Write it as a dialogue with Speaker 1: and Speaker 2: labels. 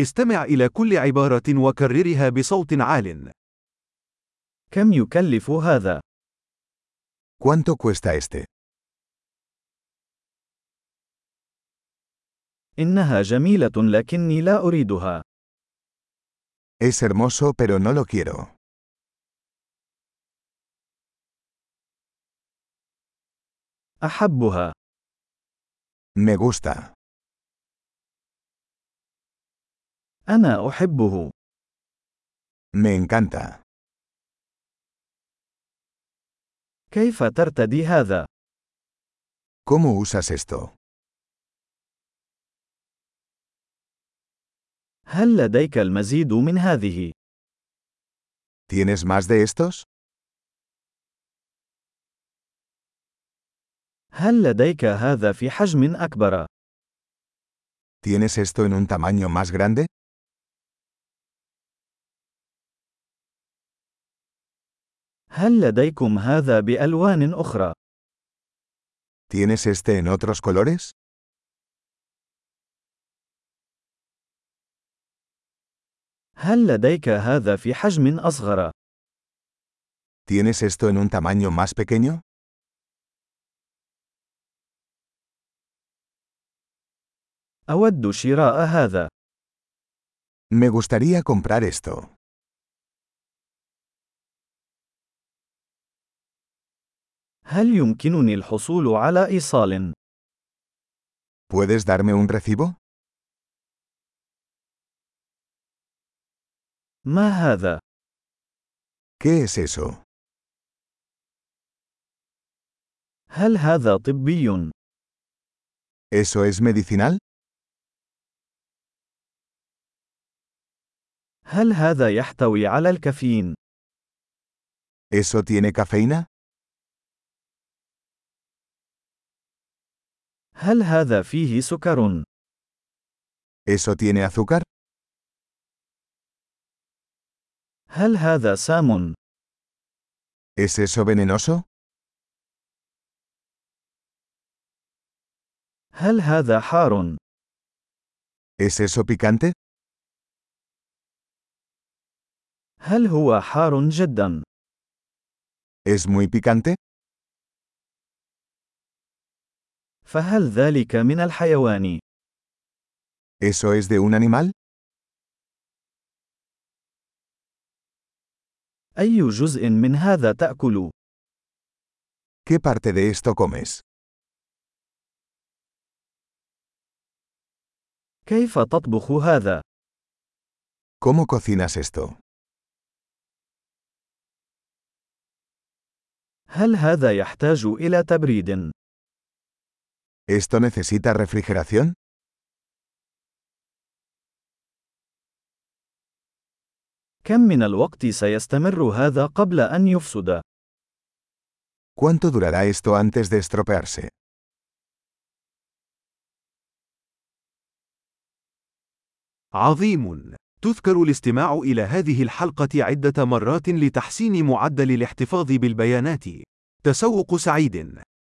Speaker 1: استمع إلى كل عبارة وكررها بصوت عال.
Speaker 2: كم يكلف هذا؟
Speaker 3: ¿Cuánto cuesta este?
Speaker 2: إنها جميلة لكني لا أريدها.
Speaker 3: Es hermoso pero no lo quiero.
Speaker 2: أحبها.
Speaker 3: Me gusta.
Speaker 2: أنا أحبه.
Speaker 3: Me encanta.
Speaker 2: كيف ترتدي هذا؟
Speaker 3: ¿Cómo usas esto?
Speaker 2: هل لديك المزيد من هذه؟
Speaker 3: ¿Tienes más de estos?
Speaker 2: هل لديك هذا في حجم أكبر؟
Speaker 3: ¿Tienes esto en un tamaño más grande?
Speaker 2: هل لديكم هذا بألوان أخرى؟
Speaker 3: ¿Tienes este en otros colores?
Speaker 2: هل لديك هذا في حجم أصغر؟
Speaker 3: ¿Tienes esto en un tamaño más pequeño?
Speaker 2: أود شراء هذا.
Speaker 3: Me gustaría comprar esto.
Speaker 2: هل يمكنني الحصول على إيصال؟
Speaker 3: ¿Puedes darme un recibo?
Speaker 2: ما هذا؟
Speaker 3: ¿Qué es eso?
Speaker 2: هل هذا طبي؟
Speaker 3: ¿Eso es medicinal?
Speaker 2: هل هذا يحتوي على الكافيين؟
Speaker 3: ¿Eso tiene cafeína?
Speaker 2: هل هذا فيه سكر؟
Speaker 3: ¿Eso tiene azúcar?
Speaker 2: هل هذا سام؟
Speaker 3: ¿Es eso venenoso?
Speaker 2: هل هذا حار؟
Speaker 3: ¿Es eso picante?
Speaker 2: هل هو حار جدا؟
Speaker 3: ¿Es muy picante?
Speaker 2: فهل ذلك من الحيوان؟
Speaker 3: ¿Eso es de un animal?
Speaker 2: أي جزء من هذا تأكل؟
Speaker 3: ¿Qué parte de esto comes?
Speaker 2: كيف تطبخ هذا؟
Speaker 3: ¿Cómo cocinas esto?
Speaker 2: هل هذا يحتاج إلى تبريد؟
Speaker 3: ¿Esto necesita refrigeración?
Speaker 2: كم من الوقت سيستمر هذا قبل أن يفسد؟
Speaker 3: ¿Cuánto durará esto antes de estropearse?
Speaker 1: عظيم. تذكر الاستماع إلى هذه الحلقة عدة مرات لتحسين معدل الاحتفاظ بالبيانات. تسوق سعيد!